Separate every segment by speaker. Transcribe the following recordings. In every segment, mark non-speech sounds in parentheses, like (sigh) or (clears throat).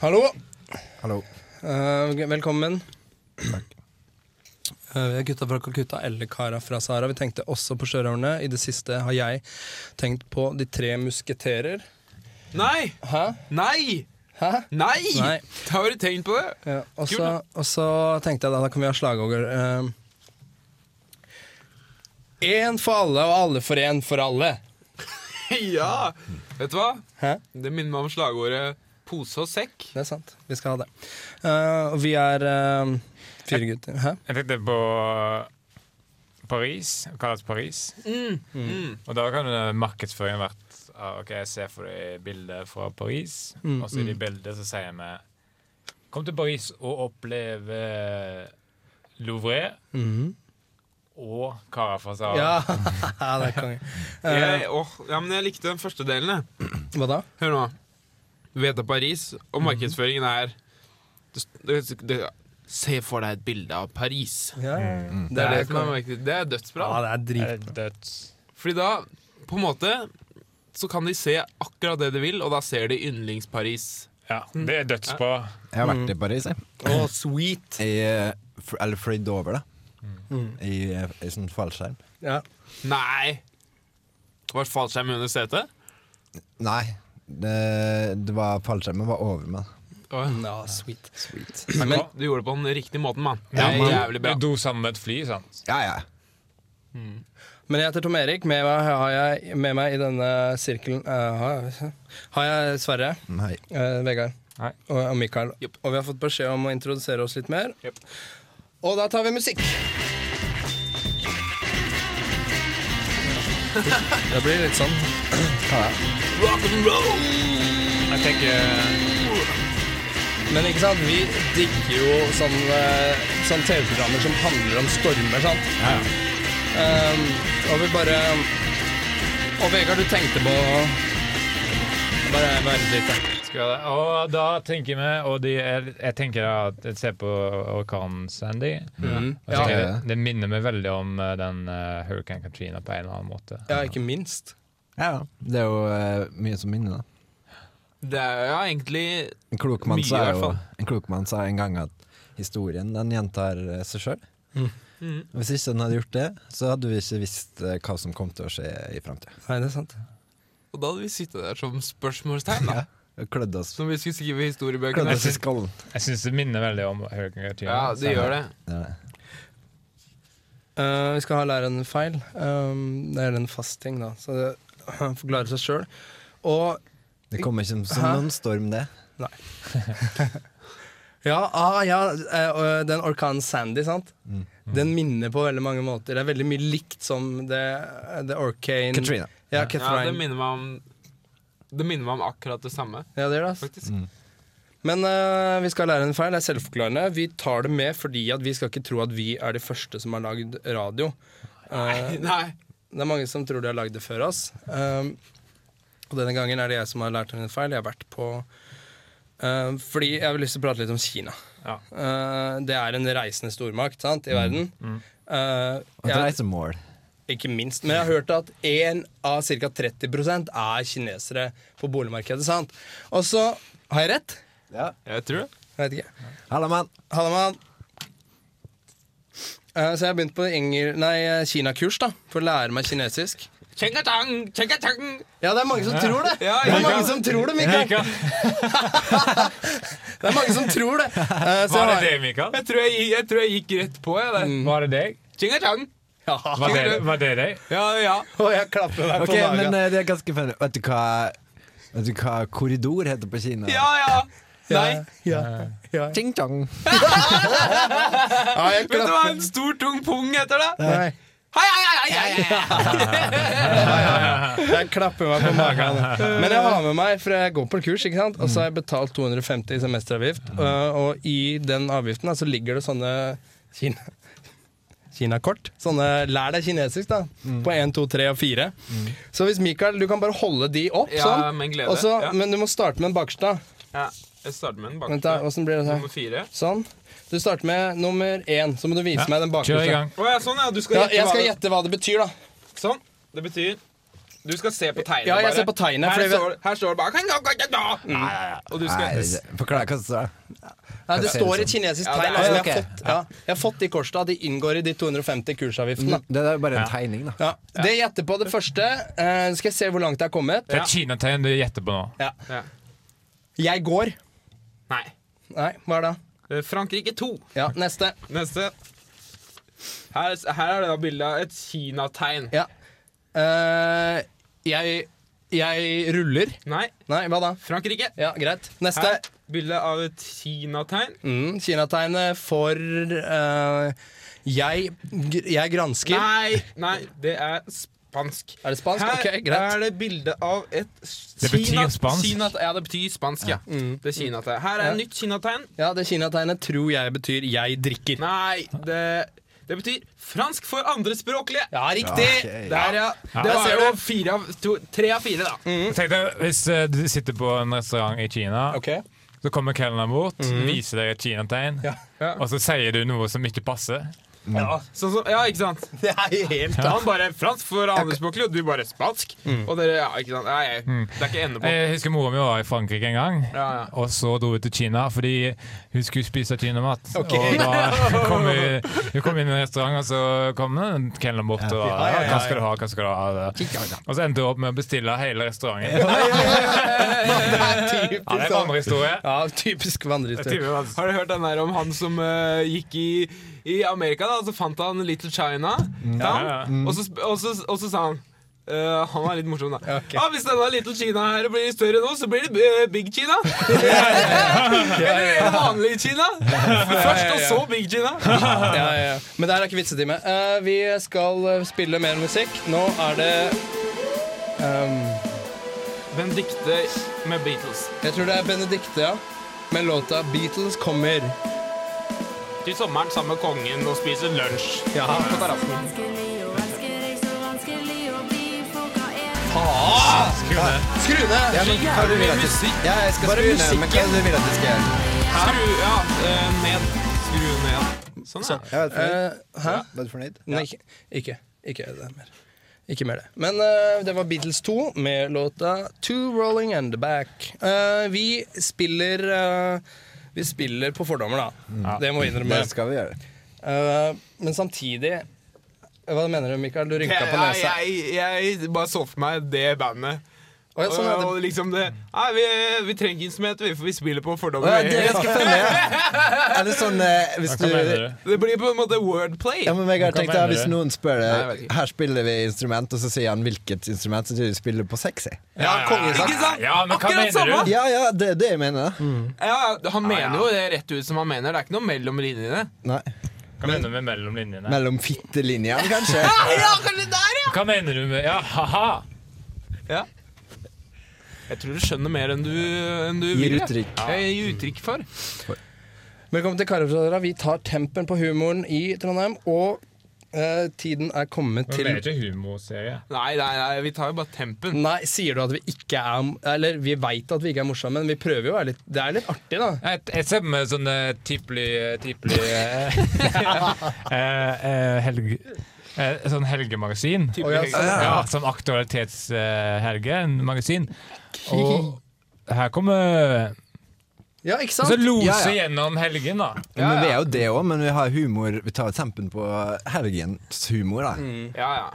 Speaker 1: Hallo.
Speaker 2: Hallo.
Speaker 1: Eh, velkommen. Eh, Vi er gutta fra Calcutta eller kara fra Sahara. Vi tenkte også på sjørøverne. I det siste har jeg tenkt på De tre musketerer.
Speaker 3: Nei!
Speaker 1: Hæ?
Speaker 3: Nei!
Speaker 1: Hæ?
Speaker 3: Nei!
Speaker 1: Nei.
Speaker 3: Da har du tenkt på det. (laughs)
Speaker 1: Ja, og,
Speaker 3: Kult,
Speaker 1: så,
Speaker 3: da.
Speaker 1: og så tenkte jeg da, da kan vi ha slagorder. Eh, Én for alle og alle for én for alle.
Speaker 3: Ja! Vet du hva?
Speaker 1: Hæ?
Speaker 3: Det minner meg om slagordet pose og sekk.
Speaker 1: Det er sant. Vi skal ha det. Eh, og vi er eh, fire gutter. Hæ?
Speaker 4: Jeg tenkte på Paris, å kalle det Paris.
Speaker 1: Mm.
Speaker 3: Mm.
Speaker 4: Og da kan eh, markedsføringen vært ah, OK, jeg ser for deg bilder fra Paris,
Speaker 1: Mm,
Speaker 4: og så i de bildene så sier vi Kom til Paris og opplev eh, Louvre
Speaker 1: Mhm.
Speaker 4: og Cara fra Sahara.
Speaker 1: Ja, (laughs) det er konge. Eh,
Speaker 3: Jeg, åh, ja, men jeg likte den første delen. jeg.
Speaker 1: hva da?
Speaker 3: Hør nå. Du vet det er Paris, og markedsføringen er det, det, det, Se for deg et bilde av Paris.
Speaker 1: Ja,
Speaker 3: Mm. Det er, det som er, marked- det er dødsbra.
Speaker 1: Mm. Ja, det er
Speaker 4: Er
Speaker 1: dritbra.
Speaker 4: det døds?
Speaker 3: Fordi da, på en måte, så kan de se akkurat det de vil, og da ser de yndlings-Paris.
Speaker 4: Ja,
Speaker 1: Mm.
Speaker 4: det er dødsbra.
Speaker 2: Jeg har
Speaker 3: Mm.
Speaker 2: vært i Paris, jeg.
Speaker 1: Og sweet.
Speaker 2: I, eh, fr- eller fløyd over, da.
Speaker 1: Mm.
Speaker 2: I, eh, I sånn fallskjerm.
Speaker 1: Ja.
Speaker 3: Nei! Var fallskjerm under setet?
Speaker 2: Nei, det, det var fallskjermen var over meg.
Speaker 1: Ja, sweet.
Speaker 3: Men,
Speaker 1: Men-
Speaker 3: du gjorde det på den riktige måten, mann. Det
Speaker 4: Ja,
Speaker 3: er
Speaker 4: man-
Speaker 3: jævlig bra.
Speaker 4: Du dro sammen med et fly, sant?
Speaker 2: Ja, ja.
Speaker 1: Men jeg heter Tom Erik. Med meg har jeg med meg i denne sirkelen eh, har jeg- har jeg Sverre,
Speaker 2: Nei.
Speaker 1: eh, Vegard
Speaker 4: Nei.
Speaker 1: og, og Mikael.
Speaker 3: Jupp.
Speaker 1: Og vi har fått beskjed om å introdusere oss litt mer.
Speaker 3: Jupp.
Speaker 1: Og da tar vi musikk. Det blir litt sånn.
Speaker 3: Rock and roll!
Speaker 4: Jeg tenker
Speaker 1: Men ikke sant, vi digger jo sånne, sånne TV-programmer som handler om stormer, sant?
Speaker 4: Ja, ja.
Speaker 1: Um, og vi bare Og Vegard, du tenkte på Bare vent litt. da.
Speaker 4: Skal vi ha det? Og da tenker vi og de, jeg, jeg tenker da at jeg ser på orkanen Sandy.
Speaker 1: Mhm.
Speaker 4: Og så tenker
Speaker 2: Ja.
Speaker 4: jeg, det minner meg veldig om eh, den eh, Hurricane Katrina på en eller annen måte.
Speaker 1: Ja, ikke minst.
Speaker 2: Ja, ja. Det er jo eh, mye som minner, da.
Speaker 3: Det er ja, egentlig
Speaker 2: En klok mann
Speaker 3: Mye,
Speaker 2: sa
Speaker 3: i hvert
Speaker 2: jo
Speaker 3: fall.
Speaker 2: En klok mann sa en gang at historien den gjentar eh, seg sjøl.
Speaker 3: Mhm.
Speaker 2: Hvis ikke den hadde gjort det, så hadde vi ikke visst eh, hva som kom til å skje i framtida.
Speaker 1: Nei, det er sant.
Speaker 3: Og da hadde vi sittet der som spørsmålstegn, da.
Speaker 2: Klødd oss,
Speaker 3: Som vi skulle skrive i
Speaker 2: klødd
Speaker 3: historiebøkene.
Speaker 2: oss i skallen.
Speaker 4: Jeg syns det minner veldig om Hurricane Katrina.
Speaker 3: Ja, det gjør det.
Speaker 2: Ja.
Speaker 1: Eh, vi skal ha lære en feil. Um, det er en fast ting, da. Så det han forklarer seg sjøl. Og
Speaker 2: Det kommer ikke som
Speaker 1: Hæ?
Speaker 2: noen storm, det.
Speaker 1: ja, ah, ja eh, og den orkanen Sandy, sant? Den minner på veldig mange måter. Det er veldig mye likt som det, det orkane
Speaker 2: Katrina.
Speaker 1: Ja,
Speaker 3: Ja, det
Speaker 1: Catherine.
Speaker 3: minner meg om Det minner meg om akkurat det samme,
Speaker 1: Ja, det gjør det. ass.
Speaker 3: faktisk.
Speaker 1: Men eh, vi skal lære en feil. Det er selvforklarende. Vi tar det med fordi at vi skal ikke tro at vi er de første som har lagd radio. Eh,
Speaker 3: (laughs) Nei.
Speaker 1: det er mange som tror de har lagd det før oss. Um, og denne gangen er det jeg som har lært en feil. Jeg har vært på eh, Fordi jeg har lyst til å prate litt om Kina.
Speaker 4: Ja.
Speaker 1: Eh, det er en reisende stormakt sant,
Speaker 3: Mm.
Speaker 1: i verden. Eh,
Speaker 2: Og det
Speaker 1: jeg-
Speaker 2: reiser mål.
Speaker 1: ikke minst. Men jeg har hørt at én av ca. 30 er kinesere på boligmarkedet. sant? Og så har jeg rett.
Speaker 3: Jeg tror det.
Speaker 1: Jeg vet ikke.
Speaker 2: Halla, mann!
Speaker 1: Halla, mann. Eh, så jeg har begynt på engel... Nei, eh, kinakurs, da. For å lære meg kinesisk.
Speaker 3: Tjengatang, tjengatang.
Speaker 1: Ja, det er mange som tror det!
Speaker 3: Ja,
Speaker 1: det er
Speaker 3: Mikael.
Speaker 1: mange som tror det, Mikael! Det er mange som tror det. Eh, så
Speaker 4: Var det
Speaker 1: jeg har-
Speaker 4: deg, Mikael?
Speaker 3: Jeg tror jeg, gi- jeg, tror jeg gikk rett på, jeg. der.
Speaker 4: Var Mm. det deg?
Speaker 3: Tjengatang.
Speaker 1: Ja,
Speaker 4: Var det, var det deg?
Speaker 3: Ja, ja.
Speaker 1: (laughs) og jeg klapper meg på
Speaker 2: Ok,
Speaker 1: magen.
Speaker 2: men eh, det er ganske funny. Vet du hva Vet du hva korridor heter på Kina?
Speaker 3: Ja, ja. Nei.
Speaker 1: Eh, Ja, ja, ja.
Speaker 2: Ching chong.
Speaker 1: ja jeg
Speaker 3: Vet du hva
Speaker 1: klapper.
Speaker 3: en stor, tung pung heter, da?
Speaker 1: Nei,
Speaker 3: Hei, hei, hei, hei, hei, hei.
Speaker 1: jeg klapper meg på magen. Men jeg har med meg, for jeg går på kurs, ikke sant? og så har jeg betalt 250 i semesteravgift. Og, og i den avgiften da, så ligger det sånne Kina... Kinakort. Sånne lær deg kinesisk, da.
Speaker 3: Mm.
Speaker 1: På 1, 2, 3 og 4. Så hvis Mikael, du kan bare holde de opp
Speaker 3: Ja,
Speaker 1: sånn.
Speaker 3: med glede.
Speaker 1: Og så,
Speaker 3: Ja.
Speaker 1: Men du må starte med en bakerste.
Speaker 3: Ja, jeg starter med den
Speaker 1: Vent, da.
Speaker 3: bakerste.
Speaker 1: Åssen blir det sånn?
Speaker 3: Nummer fire.
Speaker 1: Sånn. Du starter med nummer én. Så må du vise meg den
Speaker 4: Kjør i
Speaker 1: bakerste.
Speaker 4: gang.
Speaker 3: Å ja, sånn, ja. Du skal
Speaker 1: Ja,
Speaker 3: gjette
Speaker 1: jeg
Speaker 3: hva
Speaker 1: skal
Speaker 3: det
Speaker 1: gjette hva det betyr, da.
Speaker 3: Sånn. Det betyr Du skal se på tegnet.
Speaker 1: Ja, jeg
Speaker 3: bare.
Speaker 1: ser på tegnet,
Speaker 3: Her,
Speaker 1: fordi vi- Mm.
Speaker 3: står, her står det bare "Kan- kan- kan- kan." Og du skal
Speaker 2: Nei, det- Forklar hva det står.
Speaker 1: Nei, det
Speaker 2: Jeg ser
Speaker 1: står i
Speaker 2: det
Speaker 1: et kinesisk
Speaker 3: Ja, det
Speaker 1: tegn.
Speaker 3: er-
Speaker 1: altså,
Speaker 2: ok.
Speaker 1: jeg, har fått, ja, jeg har fått de korsene. De inngår i de 250 kursavgiftene.
Speaker 3: Mm.
Speaker 2: Det er bare en tegning, da.
Speaker 1: Ja. Det jeg gjetter på det første. eh, skal jeg se hvor langt jeg har kommet.
Speaker 4: Det er et kinategn du gjetter på nå.
Speaker 1: Ja.
Speaker 3: ja.
Speaker 1: Jeg går.
Speaker 3: Nei.
Speaker 1: Nei, hva er det?
Speaker 3: Eh, Frankrike 2.
Speaker 1: Ja, neste.
Speaker 3: Neste. Her, her er det da bilde av et kinategn.
Speaker 1: Ja. Eh, jeg, jeg ruller.
Speaker 3: Nei,
Speaker 1: Nei, hva da?
Speaker 3: Frankrike.
Speaker 1: Ja, greit. Neste.
Speaker 3: Her. Bilde av et kinategn.
Speaker 1: Mm, Kinategnet for eh, jeg, gr- jeg gransker.
Speaker 3: Nei, nei, det er spansk.
Speaker 1: Er det spansk?
Speaker 3: Her
Speaker 1: Ok, greit.
Speaker 3: er det bilde av et
Speaker 4: Det betyr
Speaker 3: Kina-
Speaker 4: spansk.
Speaker 3: Kina, ja, det betyr spansk, ja. Det er kinategn. Her er
Speaker 1: Mm. Ja.
Speaker 3: et nytt kinategn.
Speaker 1: Ja, det kinategnet tror jeg betyr 'jeg drikker'.
Speaker 3: Nei, det, det betyr fransk for andrespråklige.
Speaker 1: Ja, riktig!
Speaker 2: Ja, ok.
Speaker 3: Der, ja. Det
Speaker 4: Ja.
Speaker 3: var jo fire av, to, tre av fire, da.
Speaker 1: Mm.
Speaker 4: Tenk deg, Hvis eh, du sitter på en restaurant i Kina,
Speaker 1: Ok.
Speaker 4: så kommer kelneren bort, viser deg et kinategn,
Speaker 1: Ja.
Speaker 3: Mm. Ja.
Speaker 4: og så sier du noe som ikke passer.
Speaker 1: Ja,
Speaker 3: Sånn som, ja, ikke sant?
Speaker 1: det er jo helt
Speaker 3: Han bare fransk for andrespråklige, og du bare spansk.
Speaker 1: Mm.
Speaker 3: Og dere, ja, ikke sant? Nei,
Speaker 4: Mm.
Speaker 3: det er ikke ende på.
Speaker 4: Jeg husker mora mi var i Frankrike en gang.
Speaker 3: Ja, ja.
Speaker 4: Og så dro hun til Kina fordi hun skulle spise kinamat.
Speaker 1: Ok. (laughs)
Speaker 4: Og da kom hun, hun kom inn i en restaurant, og så kom en kelner bort og
Speaker 1: Ja, ja, ja, ja.
Speaker 4: Hva skal du ha? Hva skal du ha? Og så endte hun opp med å bestille hele
Speaker 1: (laughs)
Speaker 4: restauranten.
Speaker 1: typisk. sånn.
Speaker 4: Ja, det er en andre historie.
Speaker 1: Ja, typisk vandrehistorie.
Speaker 3: (laughs) Har du hørt den der om han som eh, gikk i, i Amerika, da? Så fant han Little China.
Speaker 1: Mm.
Speaker 3: sa han.
Speaker 4: Ja, ja.
Speaker 3: Og, så, sp- og, så, og så sa han eh, han var litt morsom, da.
Speaker 1: Ok.
Speaker 3: Ah, 'Hvis denne Little China her blir større nå, så blir det eh, Big
Speaker 1: (laughs)
Speaker 3: China.' Eller vanlig Kina. Først, og så Big China.
Speaker 1: Ja, ja, ja. Men det her er ikke vitsetime. Eh, vi skal eh, spille mer musikk. Nå er det ehm,
Speaker 3: Benedicte med Beatles.
Speaker 1: Jeg tror det er Benedicte, ja. Med låta 'Beatles kommer'.
Speaker 3: Til sommeren sammen med kongen og spiser lunsj.
Speaker 1: Ja.
Speaker 3: På terrassen.
Speaker 5: Vanskelig og elsker deg, så vanskelig å bli, for hva er
Speaker 1: Ah, Skru ned!
Speaker 2: Ja, men hva er det du vil at du
Speaker 3: Musikk.
Speaker 2: Ja, jeg skal skru ned, men hva er det du vil at du skal gjøre?
Speaker 3: Skru ja, eh, ned. Skru ned. Sånn, ja.
Speaker 2: Jeg vet ikke.
Speaker 1: Eh, hæ?
Speaker 2: Var du fornøyd?
Speaker 1: Nei, ikke, ikke, ikke det mer. Ikke mer det. Men eh, det var Beatles 2 med låta 'Two Rolling and the Back'. Eh, vi spiller eh, Vi spiller på fordommer, da. Det må vi innrømme.
Speaker 2: Det skal vi gjøre.
Speaker 1: Eh, men samtidig Hva mener du, Mikael? Du rynka på nesa.
Speaker 3: Jeg, jeg, jeg bare så for meg det bandet.
Speaker 1: Å, ja, sånn er
Speaker 3: og,
Speaker 1: det.
Speaker 3: og liksom det Nei, vi, vi trenger ikke instrumenter, vi, for vi spiller på fordommer.
Speaker 2: Ja, det er ganske funny. Er det sånn eh, hvis du
Speaker 4: Hva mener du?
Speaker 3: Det blir på en måte wordplay.
Speaker 2: ja, men jeg har
Speaker 4: Hva
Speaker 2: tenkt
Speaker 4: mener
Speaker 2: at Hvis
Speaker 4: du?
Speaker 2: noen spør
Speaker 3: Nei, jeg vet
Speaker 2: deg
Speaker 3: ikke.
Speaker 2: Her spiller vi instrument, og så sier han hvilket instrument, så sier du spiller på sexy.
Speaker 1: Ja, kongesang.
Speaker 3: Ikke sant?
Speaker 4: Ja, men hva
Speaker 3: Akkurat
Speaker 4: mener
Speaker 3: samme!
Speaker 4: du?
Speaker 2: Ja, ja, det er det jeg mener. da.
Speaker 3: Ja, han mener jo det rett ut som han mener. Det er ikke noe mellom linjene.
Speaker 2: Nei.
Speaker 4: Hva mener du med mellom linjene?
Speaker 2: Mellom fittelinjene, kanskje?
Speaker 3: Ja, kanskje der, ja!
Speaker 4: Hva mener du med Ja, ha-ha!
Speaker 3: ja. Jeg tror du skjønner mer enn du, enn du
Speaker 2: Gir
Speaker 3: vil. ja.
Speaker 2: uttrykk.
Speaker 3: Ja, Jeg gir uttrykk for.
Speaker 1: Velkommen til Karafjordra. Vi tar tempen på humoren i Trondheim. Og eh, tiden er kommet
Speaker 4: Men
Speaker 1: til
Speaker 4: det er ikke humorserie.
Speaker 3: Nei, nei, nei, vi tar jo bare tempen.
Speaker 1: Nei, sier du at vi ikke er Eller vi veit at vi ikke er morsomme, men vi prøver jo å være litt Det er litt artig, da.
Speaker 4: Jeg, jeg ser på meg sånn eh, tipli (laughs) tipli eh, eh, eh, helg, eh, Sånn helgemagasin.
Speaker 3: Type
Speaker 1: ja,
Speaker 3: høyre.
Speaker 4: Ja, sånn aktualitetshelgemagasin. Og her kommer
Speaker 1: Ja, ikke
Speaker 4: Så
Speaker 1: sant?
Speaker 4: lose
Speaker 2: Ja, ja.
Speaker 4: gjennom helgen, da.
Speaker 2: Men vi er jo det òg, men vi har humor Vi tar tempen på helgens humor, da.
Speaker 3: ja, ja.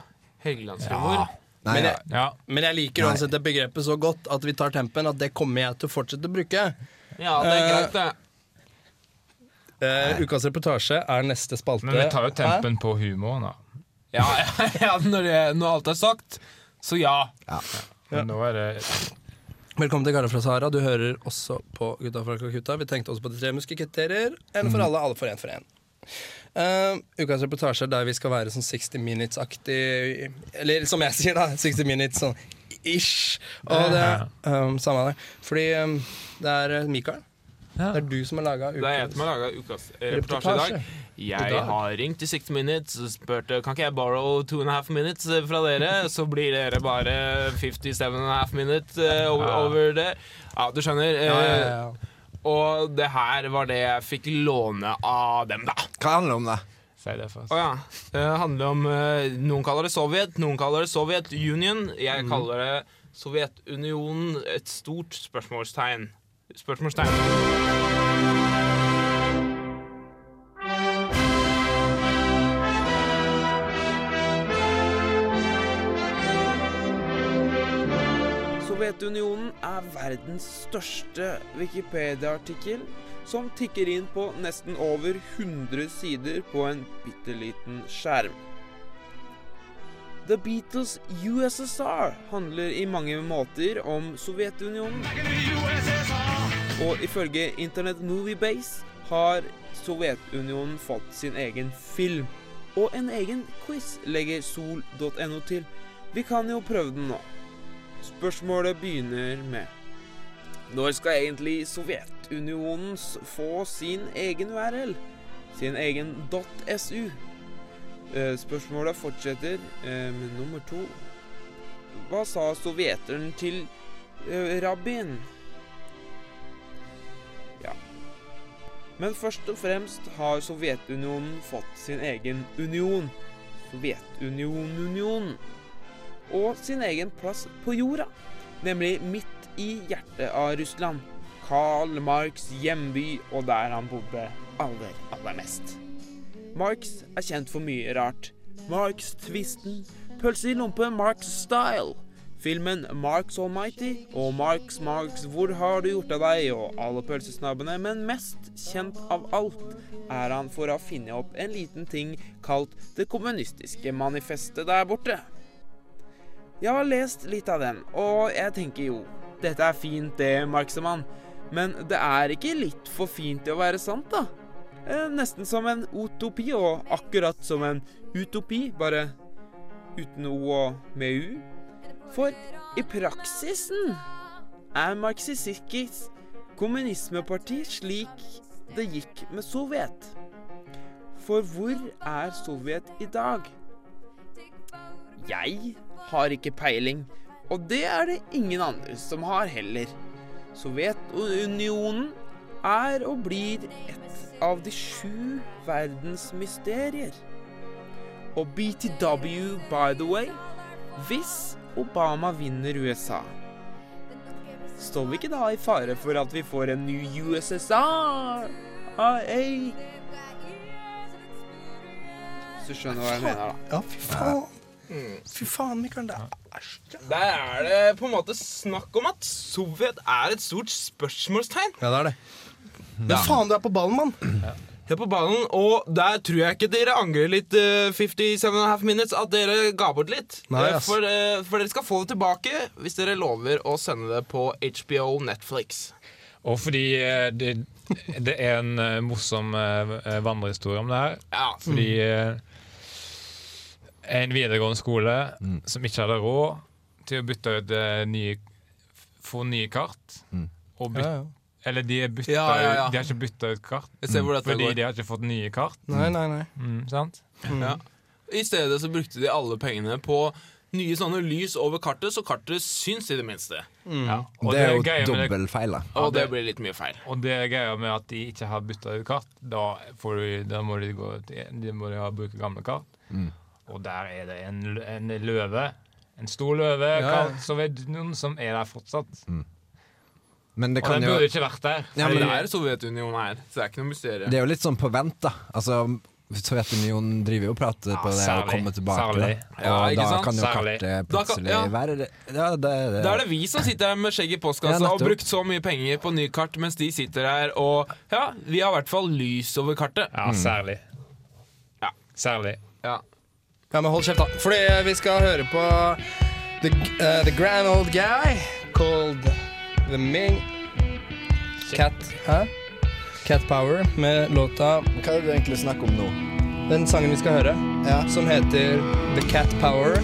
Speaker 3: Helgelandshumor.
Speaker 2: Nei,
Speaker 1: Men jeg-
Speaker 2: ja.
Speaker 4: Ja.
Speaker 1: Men jeg liker
Speaker 2: Nei.
Speaker 1: uansett det begrepet så godt at vi tar tempen, at det kommer jeg til å fortsette å bruke.
Speaker 3: Ja, det er greit, det.
Speaker 1: Eh, ukas reportasje er neste spalte.
Speaker 4: Men vi tar jo tempen på humoren, da.
Speaker 3: Ja, ja, ja (laughs) når, det, når alt er sagt, så ja.
Speaker 4: Men Nå er det
Speaker 1: Velkommen til Karer fra Sahara. Du hører også på Gutta fra Calcutta. Vi tenkte også på De tre musketerer. En for alle, alle for én for én. Eh, ukas reportasje er der vi skal være sånn 60 Minutes-aktig Eller som jeg sier, da. 60 Minutes sånn ish. Og det um, Samme det. Fordi um, det er eh, Mikael.
Speaker 4: Ja.
Speaker 1: Det er du som har laga
Speaker 3: Det er jeg
Speaker 1: ukas
Speaker 3: som har laga ukas eh, reportasje i dag.
Speaker 1: I
Speaker 3: Jeg
Speaker 1: dag?
Speaker 3: har ringt i 60 Minutes og spurt kan ikke jeg borrow two and a half minutes eh, fra dere. Så blir dere bare 57 and a half minutes eh, over,
Speaker 4: Ja.
Speaker 3: over det. Ja, du skjønner. eh,
Speaker 1: Ja, ja, ja.
Speaker 3: Og det her var det jeg fikk låne av dem, da.
Speaker 2: Hva handler det om, da?
Speaker 4: Wikipedia for
Speaker 6: Å
Speaker 4: oss.
Speaker 6: ja. Det handler om eh, Noen kaller det Sovjet, noen kaller det Sovjet Union. Jeg kaller det Sovjetunionen. Et stort spørsmålstegn. Spørsmålstegn.
Speaker 3: Sovjetunionen er verdens største Wikipedia-artikkel, som tikker inn på nesten over 100 sider på en bitte liten skjerm. The Beatles USSR handler i mange måter om Sovjetunionen. Og ifølge Internet Movie Base har Sovjetunionen fått sin egen film. Og en egen quiz legger sol.no til. Vi kan jo prøve den nå. Spørsmålet begynner med Når skal egentlig Sovjetunionen s- få sin egen URL? Sin egen .su? Eh, Spørsmålet fortsetter eh, med nummer to. Hva sa sovjeteren til eh, rabbien? Ja Men først og fremst har Sovjetunionen fått sin egen union. Sovjetunionen-unionen og sin egen plass på jorda, nemlig midt i hjertet av Russland. Karl Marx' hjemby, og der han bodde aller, aller mest. Marx er kjent for mye rart. Marx-tvisten, pølse i lompe Marx-style, filmen Marx Almighty og Marx Marx Hvor har du gjort av deg? og alle pølsesnabbene, men mest kjent av alt er han for å ha funnet opp en liten ting kalt Det kommunistiske manifestet der borte. Jeg har lest litt av den, og jeg tenker jo Dette er fint det, Marksemann. Men det er ikke litt for fint til å være sant, da? Eh, nesten som en utopi, og akkurat som en utopi, bare uten O og med U. For i praksisen er marxistisk kommunismeparti slik det gikk med Sovjet. For hvor er Sovjet i dag? Jeg har ikke peiling, og det er det ingen andre som har heller. Sovjetunionen er og blir et av de sju verdens mysterier. Og BTW, by the way, hvis Obama vinner USA, står vi ikke da i fare for at vi får en ny USSR? Ah, ei. Hvis du skjønner hva jeg mener, da.
Speaker 1: Ja, fy faen. Fy faen, Mikael. Det er æsj.
Speaker 6: Der er det på en måte snakk om at Sovjet er et stort spørsmålstegn.
Speaker 1: Ja, det er det. Men faen, du er på ballen, mann!
Speaker 6: Det er på ballen, og der tror jeg ikke dere angrer litt, eh, 57 and a half minutes, at dere ga bort litt.
Speaker 1: Nei,
Speaker 6: Eh,
Speaker 1: ass.
Speaker 6: for, eh, for dere skal få det tilbake hvis dere lover å sende det på HBO Netflix.
Speaker 4: Og fordi eh, det, det er en eh, morsom eh, vandrehistorie om det her.
Speaker 6: Ja. Mm.
Speaker 4: Fordi eh, en videregående skole
Speaker 6: Mm.
Speaker 4: som ikke hadde råd til å bytte ut eh, nye Få nye kart. Og byt, Eller de, er bytta
Speaker 6: Mm. Ja, ja, ja.
Speaker 4: Ut, de har ikke bytta ut kart.
Speaker 6: Jeg ser hvor dette
Speaker 4: Fordi
Speaker 6: går.
Speaker 4: de har ikke fått nye kart.
Speaker 1: Nei, nei, nei.
Speaker 4: Mm, sant?
Speaker 6: Ja. I stedet så brukte de alle pengene på nye sånne lys over kartet, så kartet syns i det minste.
Speaker 4: Ja. Og
Speaker 2: Mm. Det er jo
Speaker 4: greia med det-
Speaker 2: dobbeltfeil, da.
Speaker 6: Og det blir litt mye feil.
Speaker 4: Og det er greia med at de ikke har bytta ut kart, da, får du, da må de, gå til, de må de ha, bruke gamle kart.
Speaker 2: Mm.
Speaker 4: Og der er det en, l- en løve. En stor løve,
Speaker 1: ja.
Speaker 4: kalt Sovjetunionen, som er der fortsatt.
Speaker 2: Men Mm. det
Speaker 4: Og
Speaker 2: kan
Speaker 4: den
Speaker 2: jo
Speaker 4: burde ikke vært der.
Speaker 2: Ja,
Speaker 6: Men
Speaker 2: men
Speaker 6: det er Sovjetunionen her, så det er ikke noe mysterium.
Speaker 2: Det er jo litt sånn på vent, da. Altså, Sovjetunionen driver jo og prater på det
Speaker 4: særlig.
Speaker 2: og kommer tilbake.
Speaker 4: Særlig.
Speaker 2: Da.
Speaker 6: Ja,
Speaker 2: Og
Speaker 6: ikke
Speaker 2: da
Speaker 6: sant?
Speaker 2: kan jo
Speaker 4: Særlig.
Speaker 2: kartet
Speaker 6: Da kan-
Speaker 2: plutselig
Speaker 6: ja.
Speaker 2: være det. Ja, det, det.
Speaker 6: Da er det vi som sitter her med skjegg i postkassa
Speaker 2: Ja, nettopp.
Speaker 6: og brukt så mye penger på nye kart, mens de sitter her og Ja, vi har i hvert fall lys over kartet.
Speaker 2: Mm.
Speaker 4: Ja, særlig.
Speaker 6: Ja.
Speaker 4: Særlig.
Speaker 6: Ja.
Speaker 1: Ja, men hold kjeft, da. Fordi vi skal høre på The, eh, the Grand Old Guy called The Ming Cat Hæ? Cat Power med låta
Speaker 2: Hva er det du egentlig snakker om nå?
Speaker 1: Den sangen vi skal høre,
Speaker 2: Ja.
Speaker 1: som heter The Cat Power.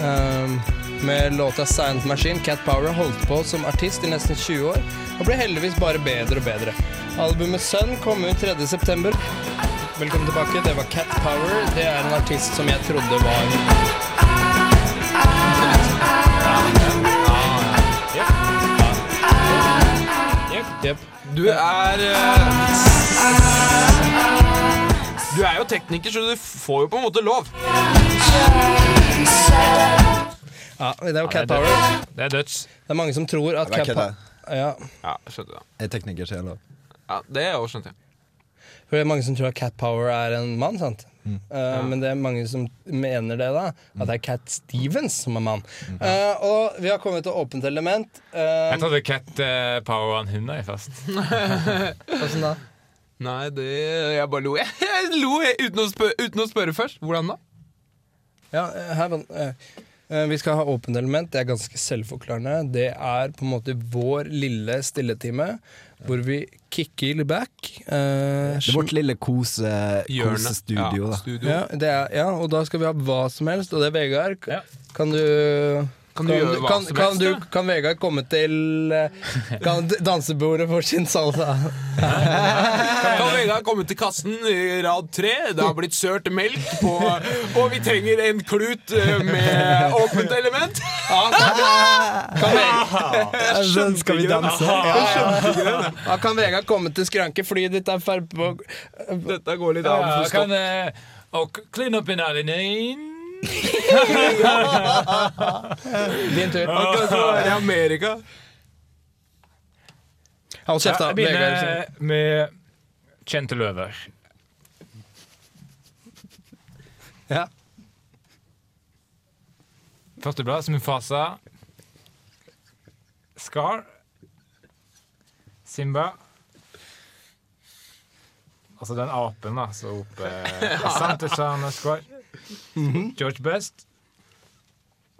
Speaker 1: ehm, med låta Silent Machine. Cat Power holdt på som artist i nesten 20 år, og ble heldigvis bare bedre og bedre. Albumet Sun kom ut 3.9. Velkommen tilbake. Det var Cat Power. Det er en artist som jeg trodde var
Speaker 6: Du er eh,
Speaker 3: Du er jo tekniker, så du får jo på en måte lov.
Speaker 1: Ja, det er jo
Speaker 4: Ja,
Speaker 1: Cat
Speaker 4: det er
Speaker 1: Power.
Speaker 4: Det er dutch.
Speaker 1: Det er mange som tror at
Speaker 2: Jeg
Speaker 1: Cat
Speaker 2: vet ikke
Speaker 1: Power ja,
Speaker 3: Ja, skjønte det.
Speaker 2: Jeg er tekniker, så jeg lov.
Speaker 3: Ja, det er jo skjønte jeg.
Speaker 1: for det er mange som tror at Cat Power er en mann, sant? Eh, Men det er mange som mener det, da. At det er Cat Stevens som er mann. Eh, og vi har kommet til åpent element. Eh,
Speaker 4: Jeg trodde Cat eh, Power var en hund jeg, først.
Speaker 1: hvordan da?
Speaker 3: Nei, det Jeg bare lo. (laughs) Jeg, lo uten å, spø- uten å spørre først. Hvordan da?
Speaker 1: Ja, eh, her, eh, eh, vi skal ha åpent element. Det er ganske selvforklarende. Det er på en måte vår lille stilletime hvor vi kicker back. eh,
Speaker 2: Det er vårt lille kose-
Speaker 3: Ja,
Speaker 2: kosestudio, da.
Speaker 3: studio.
Speaker 1: ja, det er, ja, og da skal vi ha hva som helst, og det er Vegard. K-
Speaker 4: Ja.
Speaker 1: Kan du
Speaker 3: Kan du gjøre hva
Speaker 1: kan,
Speaker 3: som
Speaker 1: kan,
Speaker 3: helst,
Speaker 1: du,
Speaker 3: da?
Speaker 1: kan Vegard komme til eh, Kan d- (laughs) dansebordet for sin salsa?
Speaker 3: Kan Vegard komme til kassen i rad tre? Det har blitt sølt melk på Og vi trenger en klut eh, med åpent element.
Speaker 1: Kan,
Speaker 3: (laughs)
Speaker 1: Ve-
Speaker 2: Sånn skal vi danse.
Speaker 1: ja, kan Vegard komme til skranke? Flyet ditt er ferdig på
Speaker 3: Dette går litt av
Speaker 4: Ja,
Speaker 3: for
Speaker 4: kan
Speaker 3: stopp.
Speaker 4: eh, Og clean up in adenine.
Speaker 1: Din tur.
Speaker 3: Han kan ikke være i Amerika.
Speaker 1: Hold kjeft, da.
Speaker 4: Jeg
Speaker 1: Vegard.
Speaker 4: begynner med kjente løver.
Speaker 1: Ja.
Speaker 4: Første blad, Mufasa. Scar. Simba. Altså den apen, da,
Speaker 3: (laughs)
Speaker 4: som roper Hassan til Shahan Ashkar. George Best.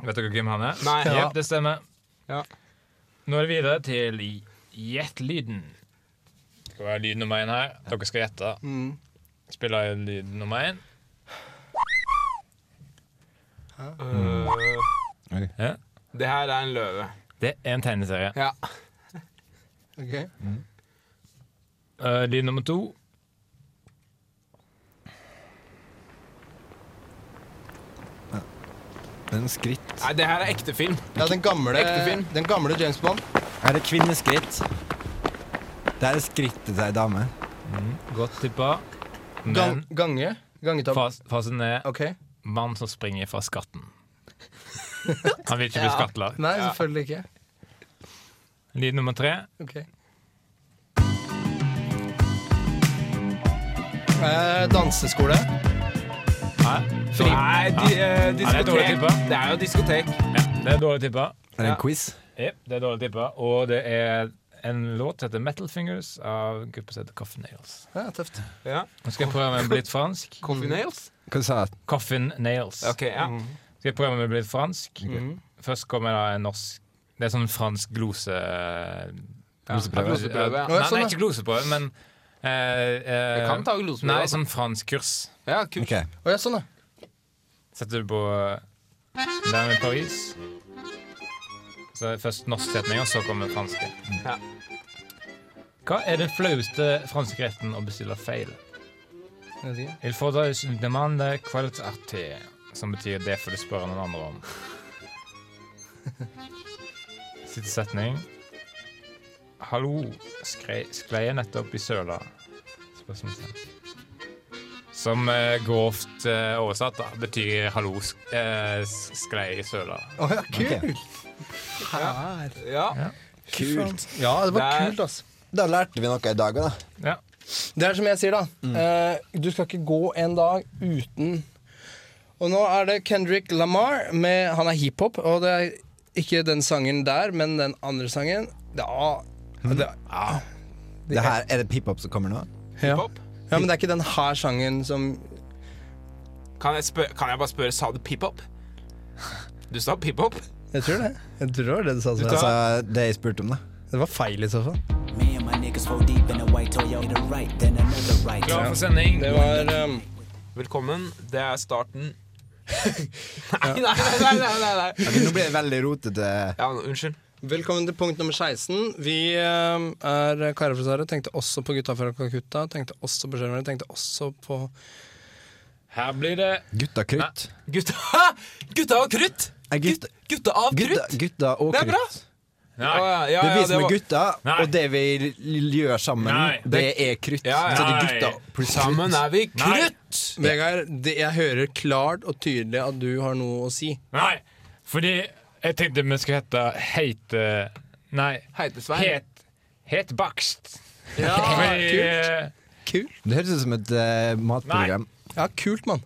Speaker 4: Vet dere hvem han er?
Speaker 3: Nei.
Speaker 4: Jep, det stemmer.
Speaker 3: Ja.
Speaker 4: Nå er det videre til gjettlyden. Skal være lyd nummer én her. Dere skal gjette.
Speaker 3: Mm.
Speaker 4: Spiller jeg lyd nummer én?
Speaker 2: Oi.
Speaker 4: Ja.
Speaker 3: Det her er en løve.
Speaker 4: Det er en tegneserie.
Speaker 3: Ja.
Speaker 1: Ok.
Speaker 4: Eh, lyd nummer to.
Speaker 2: Det er en skritt.
Speaker 3: Nei, det her er ekte film.
Speaker 1: Ja, den gamle,
Speaker 3: Ektefilm.
Speaker 1: den gamle James Bond.
Speaker 2: Er det kvinneskritt? Det er skrittet til ei dame.
Speaker 4: Godt tippa.
Speaker 1: Gang,
Speaker 4: Men
Speaker 1: gange. Gangetap.
Speaker 4: fas- fasen er
Speaker 1: Ok.
Speaker 4: mann som springer fra skatten. Han vil ikke bli skattlagt.
Speaker 1: Nei, selvfølgelig ikke.
Speaker 4: Lyd nummer tre.
Speaker 1: Ok. Eh, danseskole.
Speaker 4: Nei,
Speaker 1: Fri.
Speaker 3: Nei, di, eh,
Speaker 4: det er dårlig
Speaker 3: diskotek.
Speaker 4: tippa.
Speaker 3: Det er jo diskotek.
Speaker 4: ja, det er dårlig tippa.
Speaker 2: Er det
Speaker 3: Ja.
Speaker 2: en quiz?
Speaker 4: Jep, det er dårlig tippa. Og det er en låt som heter Metal Fingers av gruppa som heter Coffin Nails.
Speaker 1: Ja, tøft.
Speaker 3: Ja.
Speaker 4: Nå skal jeg prøve med blitt fransk.
Speaker 3: Coffee nails? Mm.
Speaker 2: Hva sa jeg?
Speaker 4: Coffin Nails.
Speaker 3: Ok, ja.
Speaker 4: Skal jeg prøve med blitt fransk?
Speaker 3: Mhm.
Speaker 4: Først kommer da en norsk Det er sånn fransk glose...
Speaker 2: Gloseprøve.
Speaker 3: Gloseprøve, ja.
Speaker 4: Nei,
Speaker 1: Å, sånn,
Speaker 4: nei,
Speaker 1: ja.
Speaker 4: ikke gloseprøve, men eh, eh,
Speaker 3: Jeg kan ta gloseprøve,
Speaker 4: Nei,
Speaker 3: altså.
Speaker 4: sånn franskkurs.
Speaker 3: Ja, kult.
Speaker 2: Ok.
Speaker 1: Å ja, sånn, ja.
Speaker 4: Setter du på Down in Paris. Så er det først norsk setning, og så kommer franske.
Speaker 3: Ja.
Speaker 4: Hva er den flaueste franske retten å bestille feil?
Speaker 1: Jeg vet ikke.
Speaker 4: Il faudrait une demande qualité som betyr det får du spørre noen andre
Speaker 3: (laughs)
Speaker 4: om. Siste setning. Hallo, sklei, sklei jeg nettopp i søla? Spørsmålstegn. Som eh, grovt eh, oversatt da, betyr 'hallo, sk eh, s- sklei i søla'.
Speaker 1: Å ja, kult!
Speaker 2: Ok.
Speaker 1: Her.
Speaker 3: Ja.
Speaker 2: Kult.
Speaker 1: Ja, det var
Speaker 3: Det er-
Speaker 1: kult, altså.
Speaker 2: Da lærte vi noe i dag òg, da.
Speaker 4: Ja.
Speaker 1: Det er som jeg sier, da. Eh, du skal ikke gå en dag uten Og nå er det Kendrick Lamar. Med, han er hiphop, og det er ikke den sangen der, men den andre sangen. Det er, det er,
Speaker 2: Det her, er det pip-up som kommer nå?
Speaker 1: ja.
Speaker 3: Hiphop?
Speaker 1: ja, men det er ikke den her sangen som
Speaker 3: Kan jeg, spør, kan jeg bare spørre, sa du pip-up? Du sa pip-up?
Speaker 1: Jeg tror det. Jeg tror det var det du sa. Sven.
Speaker 2: Altså, det jeg spurte om, da.
Speaker 1: Det var feil i så fall.
Speaker 7: Me and my niggas roll deep in a white Toyota right, then another right.
Speaker 4: Klar for sending.
Speaker 1: Det var um,
Speaker 3: Velkommen, det er starten. (laughs) nei, nei, nei, nei, nei, nei.
Speaker 2: Ok, nå blir det veldig rotete.
Speaker 3: Ja, unnskyld.
Speaker 1: Velkommen til punkt nummer 16. Vi um, er karer fra Sverige. Tenkte også på gutta fra Calcutta. Tenkte også på skjermere. Tenkte også på
Speaker 4: Her blir det
Speaker 2: Gutta krutt.
Speaker 3: Gutta, (laughs) gutta av krutt!
Speaker 2: Nei, gutta-
Speaker 3: Gut- Gutta av
Speaker 2: Gutta,
Speaker 3: krutt!
Speaker 2: gutta og
Speaker 3: Det er bra.
Speaker 2: krutt.
Speaker 4: Nei.
Speaker 3: Å, ja, ja,
Speaker 2: Det
Speaker 3: ja,
Speaker 2: viser
Speaker 3: var-
Speaker 2: med gutta,
Speaker 4: Nei.
Speaker 2: og det vi l- gjør sammen,
Speaker 4: Nei.
Speaker 2: det er krutt.
Speaker 3: Ja, ja.
Speaker 2: Så det er gutta pluss
Speaker 3: Sammen
Speaker 2: krutt.
Speaker 3: er vi
Speaker 4: Nei.
Speaker 3: krutt!
Speaker 1: Vegard, det, jeg hører klart og tydelig at du har noe å si.
Speaker 4: Nei, fordi jeg tenkte vi skulle hete Heit eh, Nei,
Speaker 3: Heitesvein.
Speaker 4: Het Het bakst.
Speaker 1: Ja,
Speaker 4: Fordi,
Speaker 1: kult.
Speaker 4: eh,
Speaker 1: kult.
Speaker 2: Det høres ut som et eh, matprogram.
Speaker 1: Ja, kult, mann.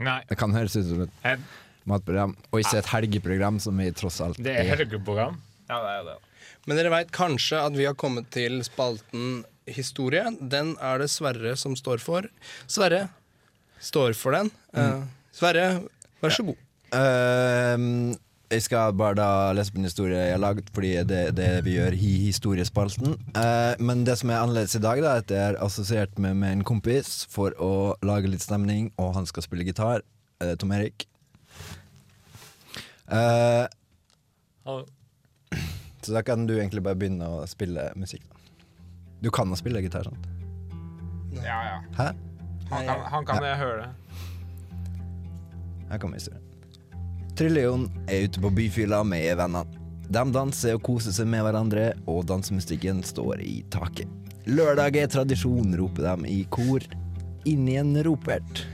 Speaker 4: Nei,
Speaker 2: Det kan høres ut som et
Speaker 4: eh,
Speaker 2: matprogram, og ikke et helgeprogram, som vi tross alt
Speaker 4: det er helgeprogram.
Speaker 3: Ja, det er jo det.
Speaker 1: Men dere veit kanskje at vi har kommet til spalten historie. Den er det Sverre som står for. Sverre står for den. Eh, Sverre, vær så god.
Speaker 2: Ehm, jeg skal bare da lese på en historie jeg har laget, fordi det er det vi gjør i historiespalten. Eh, men det som er annerledes i dag, da, er at jeg er assosiert med, med en kompis for å lage litt stemning, og han skal spille gitar. Eh, Tom Erik. Eh, så da kan du egentlig bare begynne å spille musikk. da. Du kan å spille gitar, sant?
Speaker 3: Ja, ja.
Speaker 2: Hæ?
Speaker 3: Han kan, han kan jeg høre det.
Speaker 2: Her kommer historien. Trillion er ute på byfylla med vennene. De danser og koser seg med hverandre, og dansemusikken står i taket. Lørdag er tradisjon, roper de i kor. Inn i en ropert.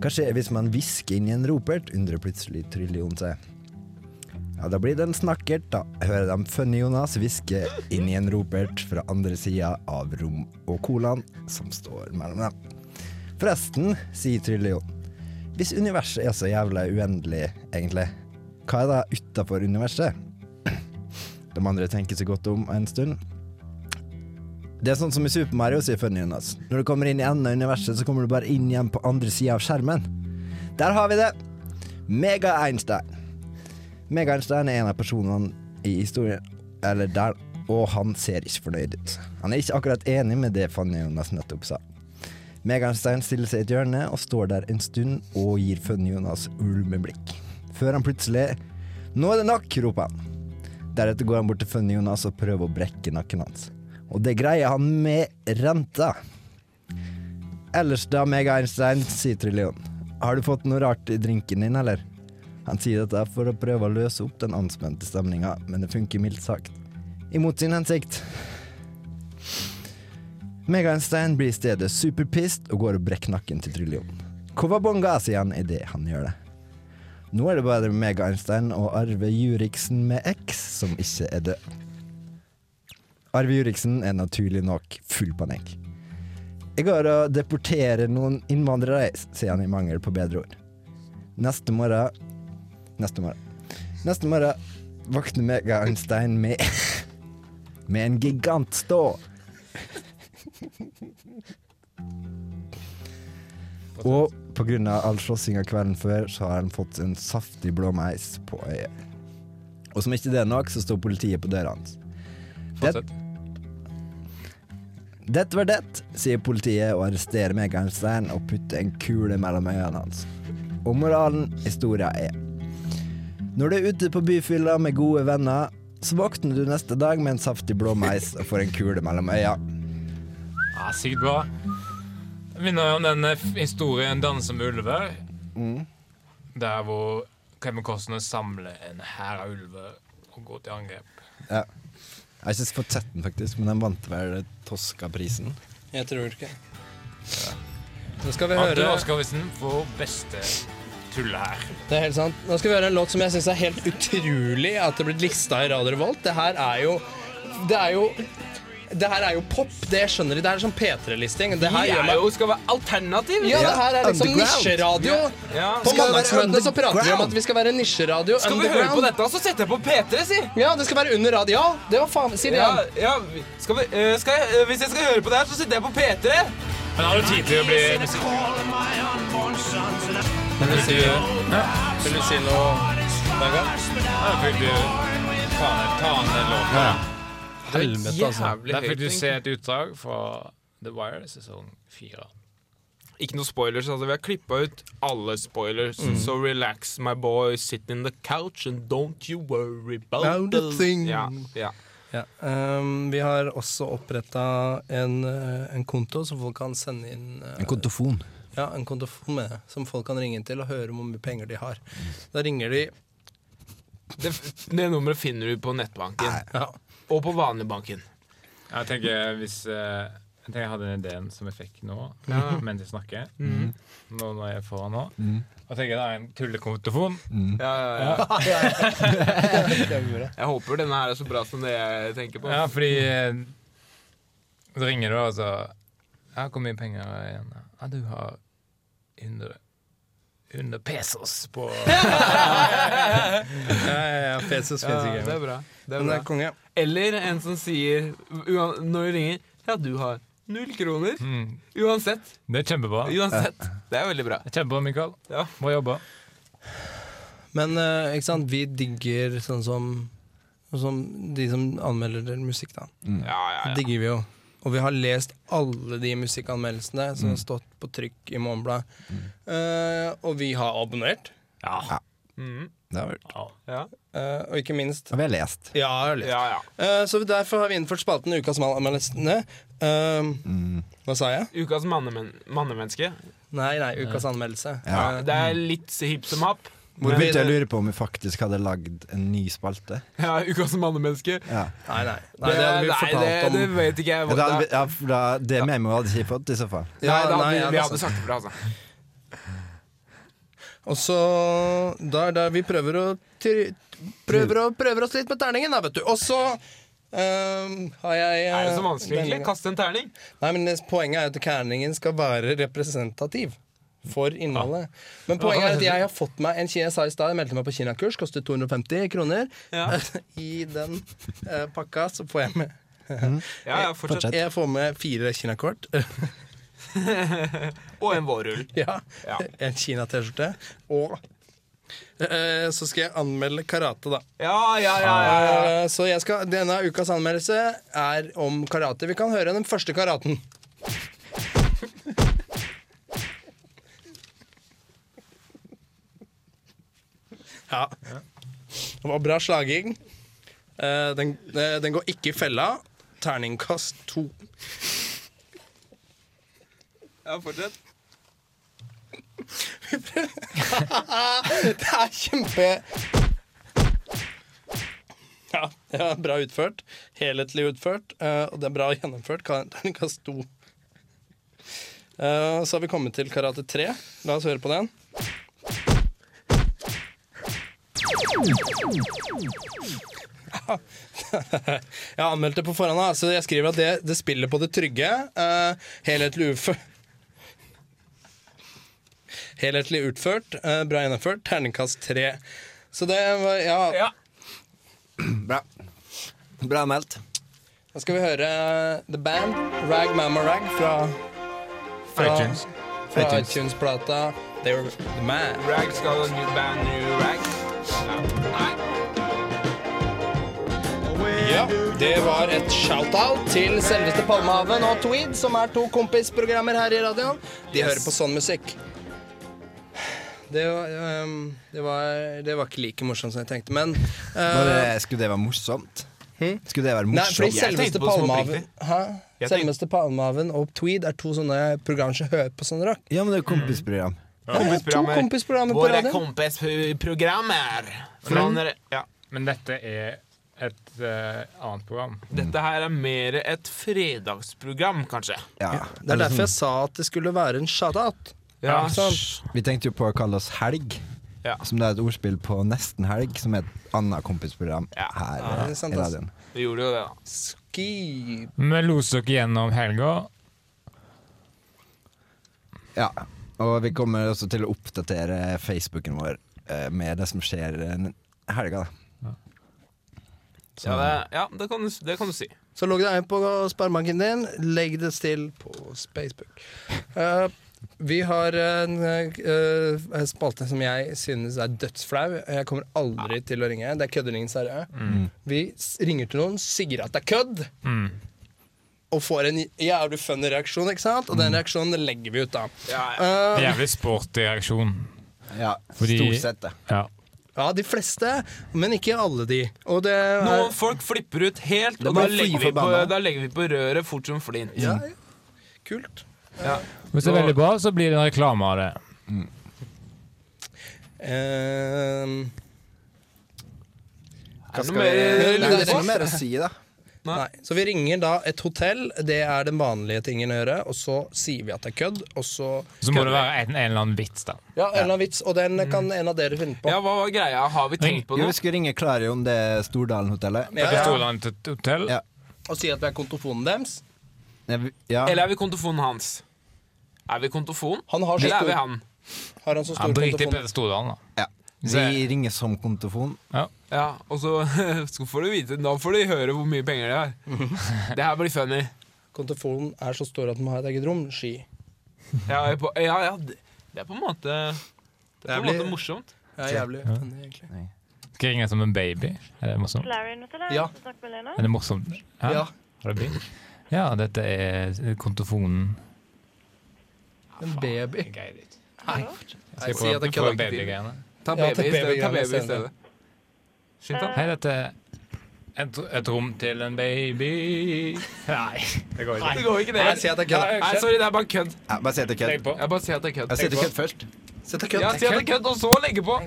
Speaker 2: Hva skjer hvis man hvisker inn i en ropert, undrer plutselig Trillion seg. Ja, da blir det en snakkert, da, hører de Funny-Jonas hviske inn i en ropert fra andre sida av Rom og Colaen, som står mellom dem. Forresten, sier Trillion, hvis universet er så jævla uendelig, egentlig, hva er da utafor universet? (clears throat) De andre tenker seg godt om en stund. Det er sånn som i Super Mario, sier Funny Jonas. Når du kommer inn i enden av universet, så kommer du bare inn igjen på andre sida av skjermen. Der har vi det! Mega-Einstein. Mega-Einstein er en av personene i historien, eller der, og han ser ikke fornøyd ut. Han er ikke akkurat enig med det Funny Jonas nettopp sa. Meganstein stiller seg i et hjørne og står der en stund og gir Funny Jonas ulmeblikk. Før han plutselig Nå er det nok! roper han. Deretter går han bort til Funny Jonas og prøver å brekke nakken hans. Og det greier han med renta. Ellers da, Mega-Einstein, sier Trillion. Har du fått noe rart i drinken din, eller? Han sier dette for å prøve å løse opp den anspente stemninga, men det funker mildt sagt. Imot sin hensikt. Megaenstein blir i stedet superpissed og går og brekker nakken til Trillion. Cowabonga, sier han idet han gjør det. Nå er det bare Megaenstein og Arve Juriksen med X som ikke er død. Arve Juriksen er naturlig nok full panikk. Jeg går og deporterer noen innvandrere, sier han i mangel på bedre ord. Neste morgen Neste morgen. Neste morgen våkner Megaenstein med (laughs) med en gigantstå. Og pga. all slåssinga kvelden før, så har han fått en saftig blåmeis på øyet. Og som ikke det er nok, så står politiet på døra hans. Det,
Speaker 4: Fortsett.
Speaker 2: dette var det, sier politiet og arresterer Megaenstein og putter en kule mellom øynene hans. Og moralen i historia er Når du er ute på byfylla med gode venner, så våkner du neste dag med en saftig blåmeis og får en kule mellom øya.
Speaker 4: Ja, Sykt bra. Det Minner jo om den eh, f- historien 'Danse med ulver'. Der hvor Kevin Costner samler en hær av ulver og går til angrep.
Speaker 2: Ja. Jeg har ikke fått sett den, faktisk, men den vant vel Tosca-prisen.
Speaker 1: Jeg tror ikke. Nå skal vi
Speaker 4: Atle
Speaker 1: høre
Speaker 4: Oscarvisen får beste tulle her.
Speaker 1: Det er helt sant. Nå skal vi høre en låt som jeg syns er helt utrolig at det er blitt lista i Radio Revolt. Det her er jo Det er jo det her er jo pop, det skjønner de. Det her er sånn P3-listing. Det her
Speaker 3: Vi
Speaker 1: gjør
Speaker 3: er
Speaker 1: meg
Speaker 3: jo skal være alternativ.
Speaker 1: Ja, det her er liksom
Speaker 2: Underground.
Speaker 1: nisjeradio.
Speaker 3: Ja.
Speaker 1: På
Speaker 2: Skal det være
Speaker 1: mandagsmøtene så prater vi om at
Speaker 2: underground?
Speaker 1: vi skal være nisjeradio.
Speaker 3: Skal vi høre på dette, så setter jeg på P3, si?
Speaker 1: Ja, det skal være under radio. Ja, det var faen Si det
Speaker 3: Ja,
Speaker 1: igjen.
Speaker 3: ja, vi- skal vi, eh, skal jeg, eh, hvis jeg skal høre på det her, så setter jeg på P3.
Speaker 4: Men har du tid til å bli musikk?
Speaker 1: Vil du si, vil du si noe, Vegard?
Speaker 4: Der fikk du ta, ta en låt.
Speaker 1: Helvete, altså.
Speaker 4: Der fikk du se et utdrag fra The Wire sesong fire.
Speaker 3: Ikke noe spoilers, altså. Vi har klippa ut alle spoilers.
Speaker 2: Mm.
Speaker 3: Så relax, my boy. Sit in the couch and don't you worry about
Speaker 1: About a thing.
Speaker 3: Ja, ja.
Speaker 1: Ja, ehm, vi har også oppretta en, eh, en konto som folk kan sende inn eh,
Speaker 2: En kontofon.
Speaker 1: Ja, en kontofon med, som folk kan ringe inn til og høre om hvor mye penger de har. Da ringer de
Speaker 3: Det, det nummeret finner du på nettbanken.
Speaker 1: Ja.
Speaker 3: Og på vanligbanken.
Speaker 4: Jeg tenker hvis eh, Jeg tenker jeg hadde den ideen som jeg fikk nå, mens jeg snakker. Mm. Nå når jeg får den nå. Og tenker det er en tullekontrofon.
Speaker 3: Ja, ja, ja. (laughs)
Speaker 1: (laughs)
Speaker 3: Jeg håper denne her er så bra som det jeg tenker på.
Speaker 4: Ja, fordi eh, Så ringer du, og så Ja, hvor mye penger er det igjen? Ja, du har 100 100 pesos på Ja, ja, ja, pesos
Speaker 3: Ja,
Speaker 4: finnes
Speaker 3: det
Speaker 4: ikke.
Speaker 3: er bra. Det er
Speaker 1: Men det er
Speaker 3: bra.
Speaker 1: konge.
Speaker 3: Eller en som sier uan- når du ringer Ja, du har null kroner.
Speaker 4: Mm,
Speaker 3: Uansett.
Speaker 4: det er kjempebra.
Speaker 3: Uansett. Det er veldig bra.
Speaker 4: Det er Kjempebra, Mikael.
Speaker 3: Ja.
Speaker 4: Bra jobba.
Speaker 1: Men eh, ikke sant, vi digger sånn som, sånn som de som anmelder musikk, da.
Speaker 3: Ja, ja,
Speaker 1: Det
Speaker 3: ja.
Speaker 1: digger vi jo. Og vi har lest alle de musikkanmeldelsene som har
Speaker 3: Mm.
Speaker 1: stått på trykk i Morgenbladet. Eh, og vi har abonnert.
Speaker 3: Mhm.
Speaker 2: Det har vi gjort.
Speaker 3: ja.
Speaker 1: eh, og ikke minst
Speaker 2: Det har vi lest.
Speaker 1: Ja, jeg har lest.
Speaker 3: ja, ja.
Speaker 1: Eh, så derfor har vi innført spalten Ukas anmeldelsene.
Speaker 3: Mm.
Speaker 1: Hva sa jeg?
Speaker 3: Ukas mannemen mannemenneske.
Speaker 1: Nei, nei, Ukas anmeldelse.
Speaker 2: Ja.
Speaker 1: Eh,
Speaker 3: Det er litt hipp som happ.
Speaker 2: Hvor
Speaker 1: Men-
Speaker 2: begynte jeg å lure på om vi faktisk hadde lagd en ny spalte.
Speaker 3: Ja, ukas mannemenneske.
Speaker 2: Ja.
Speaker 1: nei, nei, nei, det hadde vi
Speaker 3: nei,
Speaker 1: fortalt om.
Speaker 3: det, det vet ikke jeg.
Speaker 2: Ja,
Speaker 3: Hva,
Speaker 2: da
Speaker 3: det,
Speaker 2: hadde vi, ja, for da, det memoet hadde ikke fått, i så fall.
Speaker 3: nei, da hadde,
Speaker 1: nei,
Speaker 3: vi-
Speaker 1: ja,
Speaker 3: vi
Speaker 1: det er
Speaker 3: hadde
Speaker 1: sant.
Speaker 3: sagt ifra, altså.
Speaker 1: Og så der, der vi prøver å ty- prøver, å, prøver oss litt med terningen, da, vet du. Og så ehm, har jeg
Speaker 3: Er det så
Speaker 1: eh,
Speaker 3: vanskelig, egentlig?
Speaker 1: denne-
Speaker 3: Kaste en terning.
Speaker 1: Nei, men det- Poenget er at terningen skal være representativ for innholdet. Men poenget er at jeg har fått meg en kina, jeg sa i stad, jeg meldte meg på kinakurs, kostet 250 kroner.
Speaker 3: Ja.
Speaker 1: (laughs) I den eh, pakka så får jeg med
Speaker 3: Ja, ja, fortsett.
Speaker 1: Jeg får med fire kinakort. (laughs)
Speaker 3: Og en vårrull.
Speaker 1: ja.
Speaker 3: Ja.
Speaker 1: En Kina-T-skjorte. Og eh, så skal jeg anmelde karate, da.
Speaker 3: Ja, ja, ja, ja, ja.
Speaker 1: Eh, Så jeg skal, denne ukas anmeldelse er om karate. Vi kan høre den første karaten. Ja. Det var bra slaging. Eh, Den, eh, den går ikke i fella. Terningkast to.
Speaker 3: ja fortsett.
Speaker 1: Det er kjempe (laughs) Ja, det er bra utført. Helhetlig utført. eh, Og det er bra gjennomført. Ka- (laughs) Terningkast to. Eh, Så har vi kommet til karate 3. La oss høre på den. (laughs) Jeg har anmeldt det på forhånd, da, så jeg skriver at det, det spiller på det trygge. eh, Helhetlig ufø... Helhetlig utført, eh, bra gjennomført, terningkast tre. Så det var ja,
Speaker 3: Ja.
Speaker 2: Bra. Bra meldt.
Speaker 1: Da skal vi høre eh, The Band, Rag Mamma Rag, fra, fra
Speaker 4: iTunes.
Speaker 1: Fra
Speaker 2: iTunes.
Speaker 1: iTunes-plata They Were The Man.
Speaker 3: Rag skal ha new band, new rag. Ja. Nei.
Speaker 1: Ja, det var et shout-out til selveste Palmehaven og Tweed, som er to kompisprogrammer her i radioen. De hører på sånn musikk. Det var, ehm, det, var, det var ikke like morsomt som jeg tenkte, men
Speaker 2: Var
Speaker 1: eh,
Speaker 2: det- Skulle det være morsomt? Skulle det være
Speaker 1: Nei, fordi
Speaker 2: morsomt?
Speaker 3: Jeg tenkte
Speaker 1: selveste
Speaker 3: på det som
Speaker 1: Palmehaven Hæ?
Speaker 3: Jeg tenkte-
Speaker 1: Selveste Palmehaven og Tweed er to sånne program som hører på sånn rock.
Speaker 2: Ja, men det er jo kompisprogram.
Speaker 1: Det er to kompisprogrammer på Mm.
Speaker 3: Våre
Speaker 1: radioen.
Speaker 3: kompisprogrammer. Fra når- Ja.
Speaker 4: Men dette er et eh, annet program.
Speaker 3: Dette her er mer et fredagsprogram, kanskje.
Speaker 2: Ja. sånn-
Speaker 1: Det er derfor jeg sa at det skulle være en shout-out.
Speaker 3: Ja,
Speaker 1: sant.
Speaker 2: Vi tenkte jo på å kalle oss Helg,
Speaker 3: Ja.
Speaker 2: som det er et ordspill på Nesten helg, som er et annet kompisprogram
Speaker 3: Ja.
Speaker 2: her
Speaker 1: Ja, det
Speaker 2: eh,
Speaker 1: er sant,
Speaker 2: i
Speaker 1: ass.
Speaker 2: radioen.
Speaker 3: Vi gjorde jo det, da.
Speaker 1: Ski
Speaker 4: Vi loser dere gjennom helga.
Speaker 2: Ja. Og vi kommer også til å oppdatere Facebooken vår eh, med det som skjer eh, n- helga, da.
Speaker 3: Ja, det, ja det, kan, du- det kan du si.
Speaker 1: Så logg deg inn på sparebanken din. Legg det til på Facebook. Eh, vi har en eh, eh, spalte som jeg synes er dødsflau. Jeg kommer aldri til å ringe. Det er kødderingen Sverre. Vi s- ringer til noen, sier at det er kødd,
Speaker 4: Mm.
Speaker 1: og får en jævlig funny reaksjon. ikke sant? Og den reaksjonen legger vi ut, da.
Speaker 3: Ja, ja.
Speaker 1: Eh,
Speaker 4: Jævlig sporty reaksjon.
Speaker 2: Ja,
Speaker 4: Fordi-
Speaker 2: stort sett, det.
Speaker 4: Ja.
Speaker 1: ja, de fleste, men ikke alle de. Og det er
Speaker 3: Noen folk flipper ut helt, og
Speaker 2: blir
Speaker 3: da legger,
Speaker 2: fly
Speaker 3: vi på,
Speaker 2: forbanna.
Speaker 3: da legger vi på røret fort som flint.
Speaker 1: ja, kult.
Speaker 4: Hvis det er veldig bra, så blir det en reklame av det.
Speaker 1: Ehm, Eh,
Speaker 3: Er det
Speaker 1: vi-
Speaker 3: noe mer-
Speaker 2: Nei, det er noe mer å si, da.
Speaker 1: Nei. Så vi ringer da et hotell, det er den vanlige tingen å gjøre, og så sier vi at det er kødd, og så
Speaker 4: Så må det være en, en eller annen vits, da.
Speaker 1: Ja, en eller annen vits, og den kan en av dere finne på.
Speaker 3: Ja, hva var greia? Har vi tenkt på
Speaker 2: Jo,
Speaker 3: noe?
Speaker 2: vi skulle ringe Klarion, det er Stordalen-hotellet.
Speaker 1: Ja.
Speaker 4: Det består av et et hotell.
Speaker 2: Ja.
Speaker 1: Og si at vi er kontofonen deres.
Speaker 2: Ja, vi- ja.
Speaker 3: Eller er vi kontofonen hans? Er vi kontofon?
Speaker 1: Han har så
Speaker 3: Eller er
Speaker 1: stor,
Speaker 3: vi han?
Speaker 1: har han så stor
Speaker 4: Han driter i
Speaker 1: kontofon.
Speaker 4: Peder Stordalen, da.
Speaker 2: ja. Vi ringer som kontofon.
Speaker 3: Ja, og så, (laughs) så får du vite Da får de høre hvor mye penger de har. Det her blir funny.
Speaker 1: Kontofonen er så stor at den må ha et eget rom. Ski.
Speaker 3: Ja, jeg på, ja, ja, det det er på en måte Det er på en
Speaker 1: blir-
Speaker 3: måte morsomt.
Speaker 1: Ja, jævlig funny, egentlig.
Speaker 4: Skal jeg ringe som en baby? Er det morsomt?
Speaker 5: Clarion, vet du det?
Speaker 1: Ja.
Speaker 5: Du snakker med Lena?
Speaker 4: Er det morsomt? Hæ?
Speaker 1: Ja.
Speaker 4: Har det blitt? Ja, dette er kontofonen.
Speaker 1: En baby.
Speaker 4: Skal jeg
Speaker 1: si at det
Speaker 4: prøve- prøve
Speaker 1: kødder.
Speaker 4: babygreiene?
Speaker 3: Ta
Speaker 1: Ja,
Speaker 3: baby i stedet. Ta baby i stedet. Skynd deg.
Speaker 4: Hei, dette er et, et rom til en baby Nei, det går ikke.
Speaker 3: Det går ikke, det.
Speaker 1: Nei, si at det er kødd.
Speaker 3: Nei, sorry, det er bare kødd.
Speaker 2: Ja, bare si at det er
Speaker 4: Legg
Speaker 2: kødd.
Speaker 4: på.
Speaker 3: Jeg bare sier at det er kødd.
Speaker 2: Jeg sier det er kødd først.
Speaker 1: Si at det er
Speaker 3: Ja, si at det er kødd, og så legge på.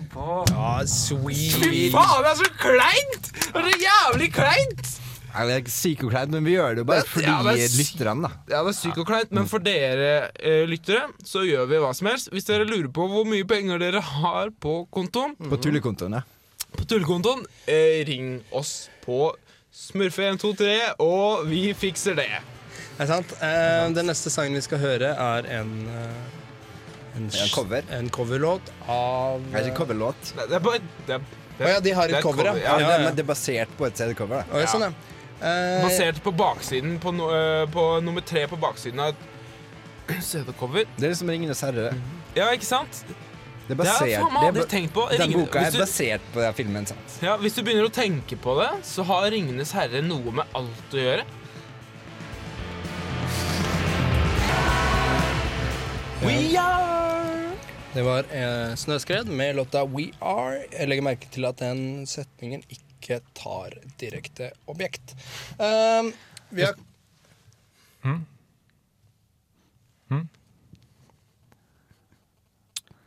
Speaker 1: Ja, sweet.
Speaker 3: Fy faen, det er så kleint! Det er så jævlig kleint!
Speaker 2: Eller det er psykokleint, men vi gjør det jo bare fordi
Speaker 3: Ja, men s-
Speaker 2: lytterne, da.
Speaker 3: Ja, det er sykt og kleint, men for dere eh, lyttere så gjør vi hva som helst. Hvis dere lurer på hvor mye penger dere har på kontoen,
Speaker 2: På tullekontoen, ja.
Speaker 3: på tullekontoen, eh, ring oss på Smurfe123, og vi fikser det.
Speaker 1: Er det sant? Eh, den neste sangen vi skal høre, er en eh, en,
Speaker 2: En cover.
Speaker 1: En coverlåt av
Speaker 2: Det er ikke coverlåt.
Speaker 3: Nei, Det er bare det er,
Speaker 1: Å ja, de har
Speaker 3: Det er
Speaker 1: et cover, ja.
Speaker 3: cover,
Speaker 1: ja,
Speaker 2: Ja, det-
Speaker 1: ja.
Speaker 2: Men det er basert på et CD-cover, da.
Speaker 1: Å, ja, sånn, ja. Eh,
Speaker 3: basert på baksiden på, no, eh, på nummer tre på baksiden av (clears throat) et CD-cover.
Speaker 2: Det er liksom Ringenes herre.
Speaker 3: Ja, ikke sant?
Speaker 2: Det er
Speaker 3: Det har
Speaker 2: basert
Speaker 3: jeg faen meg
Speaker 2: det
Speaker 3: aldri
Speaker 2: er ba-
Speaker 3: tenkt på.
Speaker 2: Den
Speaker 3: Ringene-
Speaker 2: boka er
Speaker 3: hvis du-
Speaker 2: basert på den filmen, sant?
Speaker 3: Ja, Hvis du begynner å tenke på det, så har 'Ringenes herre' noe med alt å gjøre. We are
Speaker 1: Det var eh, Snøskred med låta We Are. Jeg legger merke til at den setningen ikke tar direkte objekt. Um, vi har
Speaker 3: Hmm?
Speaker 4: Mm. Mm.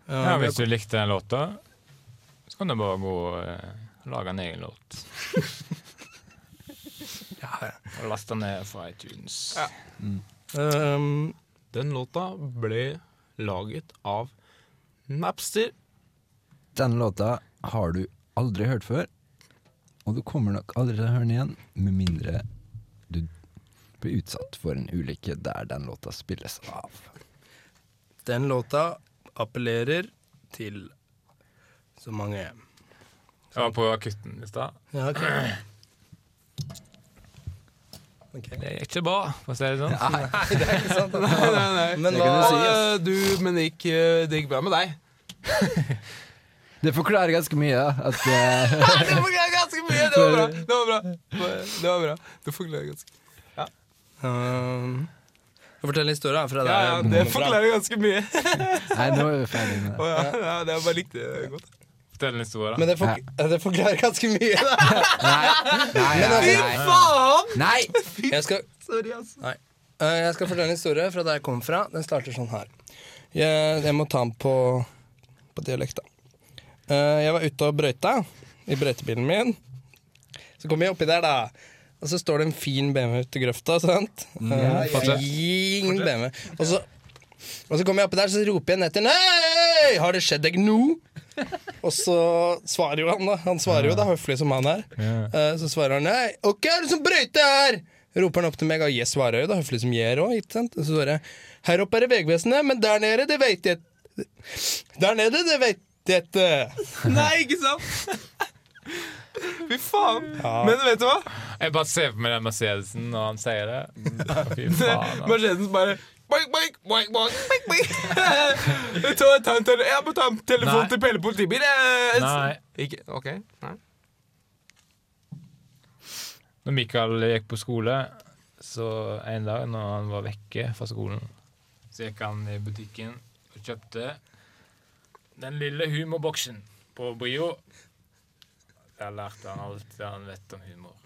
Speaker 1: Ja,
Speaker 4: Ja,
Speaker 1: vi
Speaker 4: hvis
Speaker 1: har-
Speaker 4: du likte den låta, så kan du bare gå og eh, lage en egen låt. (laughs) Og laste den ned fra iTunes.
Speaker 3: Ja.
Speaker 1: um,
Speaker 3: Den låta ble laget av Napster.
Speaker 2: Denne låta har du aldri hørt før, og du kommer nok aldri til å høre den igjen, med mindre du blir utsatt for en ulykke der den låta spilles av.
Speaker 1: den låta appellerer til så mange.
Speaker 4: Jeg var på akutten i stad.
Speaker 1: Ja, ok. Ok.
Speaker 4: Det gikk ikke bra, for å si det sånn.
Speaker 1: Nei, det er ikke sant.
Speaker 3: Nei, nei, nei.
Speaker 1: Men
Speaker 2: Det
Speaker 1: hva
Speaker 2: kan altså.
Speaker 3: Og, eh, du, men det gikk, eh, det gikk bra med deg.
Speaker 2: Det forklarer ganske mye, da. At, eh,
Speaker 3: (laughs) Det forklarer ganske mye! Det var bra. Det var bra. Det var bra. Det forklarer ganske
Speaker 1: Um, Skal fortelle en historie da, fra der
Speaker 3: Ja, ja,
Speaker 1: jeg
Speaker 3: det
Speaker 1: kommer fra.
Speaker 3: forklarer ganske mye.
Speaker 2: nei, nå er vi ferdig med
Speaker 3: Å,
Speaker 2: det.
Speaker 3: ja, ja, det jeg bare likte det godt.
Speaker 4: Fortell en historie, da.
Speaker 1: Men det, fork (laughs) det forklarer ganske mye. Da.
Speaker 2: Nei, nei, nei.
Speaker 3: Faen!
Speaker 2: nei.
Speaker 1: (laughs) Jeg skal,
Speaker 3: Sorry, ass.
Speaker 1: nei. Eh, jeg skal fortelle en historie fra der jeg kom fra. Den starter sånn her. Jeg, jeg må ta den på, på dialekt, da. Eh, jeg var ute og brøyta i brøytebilen min. Så kom jeg oppi der, da. Og så står det en fin BMW ute i grøfta. sant? Eh,
Speaker 4: fortsett.
Speaker 1: fin BMW. Og så, og så kommer jeg oppi der, så roper jeg ned til Hei, har det skjedd deg nå? Og så svarer jo han, da. Han svarer jo, da, høflig som han er. Eh, Så svarer han nei. Og hva er det som brøyter her? Roper han opp til meg, og jeg svarer jo, da, høflig som jeg er òg. Og så svarer jeg her oppe er det Vegvesenet, men der nede, det veit jeg Der nede, det veit jeg ikke.
Speaker 3: Nei, ikke sant? (laughs) Fy faen. Men vet du hva?
Speaker 4: Jeg bare ser på meg den Mercedesen når han sier (laughs) det.
Speaker 3: (laughs)
Speaker 4: Fy faen. altså. ass.
Speaker 3: Mercedesen bare boink, boink, boink, boink, boink, (laughs) boink. Ta, ta en tele jeg må ta en telefon
Speaker 4: Nei.
Speaker 3: til Pelle politibil. jeg.
Speaker 4: Nei.
Speaker 3: Ikke, ok, nei.
Speaker 4: Når Mikael gikk på skole, så en dag når han var vekke fra skolen, så gikk han i butikken og kjøpte den lille humorboksen på Brio. Der lærte han alt det han vet om humor.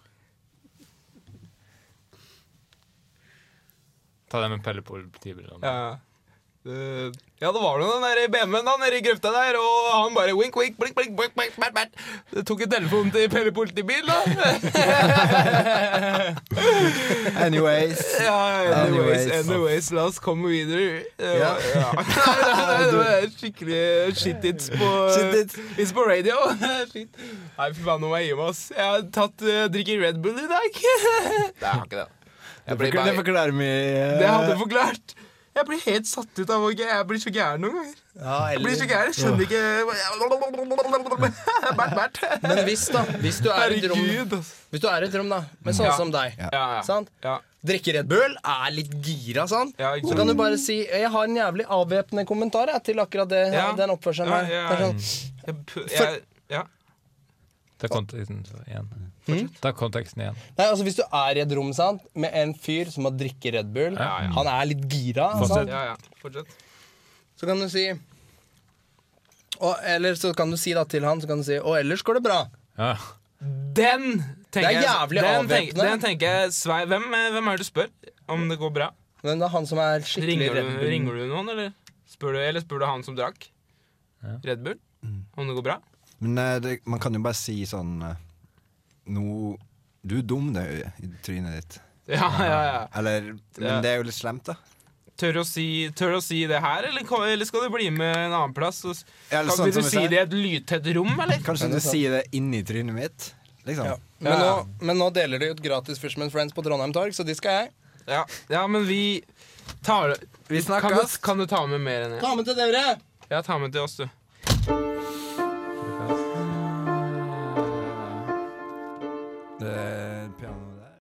Speaker 4: Ta det med Pelle på politibilen.
Speaker 3: Ja. Eh, ja, det var noen der i BMW-en da, nede i grøfta der, og han bare wink, wink, blink, blink, blink, blink, blink, blink. Det tok en telefon til Pelle politibil, da.
Speaker 1: (laughs)
Speaker 2: Anyways.
Speaker 3: ja, anyways,
Speaker 2: Anyways.
Speaker 3: anyways, la oss komme videre. Det
Speaker 2: Ja.
Speaker 3: var- (laughs) ja. Nei, det var skikkelig shit-its på,
Speaker 2: Shit-its.
Speaker 3: it's på radio. (laughs) Shit. Nei, fy faen, nå må jeg gi meg, ass. Jeg har tatt, eh, drikker Red Bull i dag. (laughs) Nei, jeg har ikke det. Jeg blir bare-
Speaker 2: forklarer mye.
Speaker 3: Det hadde forklart. Jeg blir helt satt ut av hvor gæ- Jeg blir så gæren noen ganger. Jeg blir så gæren, jeg skjønner ikke Bert, Bert.
Speaker 1: Men hvis, da. Hvis du er i et rom,
Speaker 3: Herregud, ass.
Speaker 1: hvis du er i et rom da, med sånne
Speaker 3: Ja.
Speaker 1: som deg,
Speaker 3: Ja, ja.
Speaker 1: sant?
Speaker 3: ja.
Speaker 1: drikker Red Bull, er litt gira, sant?
Speaker 3: Ja, ikke
Speaker 1: Så
Speaker 3: sant.
Speaker 1: kan du bare si Jeg har en jævlig avvæpnende kommentar jeg, til akkurat det,
Speaker 3: Ja.
Speaker 1: den oppførselen
Speaker 3: Ja,
Speaker 1: her.
Speaker 3: ja,
Speaker 1: Det er
Speaker 3: ja.
Speaker 1: sånn,
Speaker 3: Jeg pu- jeg- Ja.
Speaker 4: Ta konteksten igjen. Ta konteksten igjen.
Speaker 1: Nei, altså Hvis du er i et rom sant, med en fyr som har drikket Red Bull,
Speaker 4: Ja, ja.
Speaker 1: han er litt gira,
Speaker 4: Fortsett.
Speaker 1: sant?
Speaker 3: ja, ja. Fortsett.
Speaker 1: så kan du si og, Eller så kan du si da til han så kan du si, Og ellers går det bra.
Speaker 4: Ja.
Speaker 3: Den tenker
Speaker 1: Det er
Speaker 3: jeg
Speaker 1: jævlig
Speaker 3: den tenker-
Speaker 1: avvæpnende.
Speaker 3: Den tenker jeg Svei, hvem, eh, hvem er det du spør om det går bra?
Speaker 1: Men det er han som er skikkelig
Speaker 3: Ringer
Speaker 1: Red
Speaker 3: du,
Speaker 1: Bull.
Speaker 3: ringer du noen, eller? Spør du, eller spør du han som drakk? Red Bull? Om det går bra?
Speaker 2: Men eh, det, man kan jo bare si sånn eh, Nå Du er dum, det, i trynet ditt.
Speaker 3: Ja, ja, ja.
Speaker 2: Eller
Speaker 3: Ja.
Speaker 2: Men det er jo litt slemt, da.
Speaker 3: Tør å si, tør å si det her, eller, kan- eller skal du bli med en annen plass? Og, s-
Speaker 2: Eller
Speaker 3: kan,
Speaker 2: sånn
Speaker 3: vil du
Speaker 2: som jeg
Speaker 3: si
Speaker 2: sier.
Speaker 3: det i et lydtett rom, eller?
Speaker 2: Kanskje du sier det inni trynet mitt?
Speaker 1: Ja.
Speaker 2: Liksom. Ja.
Speaker 1: Men,
Speaker 3: Ja.
Speaker 1: nå, men nå deler de ut gratis Fishman Friends på Trondheim Torg, så de skal jeg.
Speaker 3: Ja, ja men vi tar
Speaker 2: Vi
Speaker 3: kan du,
Speaker 2: snakkes!
Speaker 3: kan du ta med mer enn jeg?
Speaker 1: Ta med til dere!
Speaker 3: Ja, ta med til oss, du.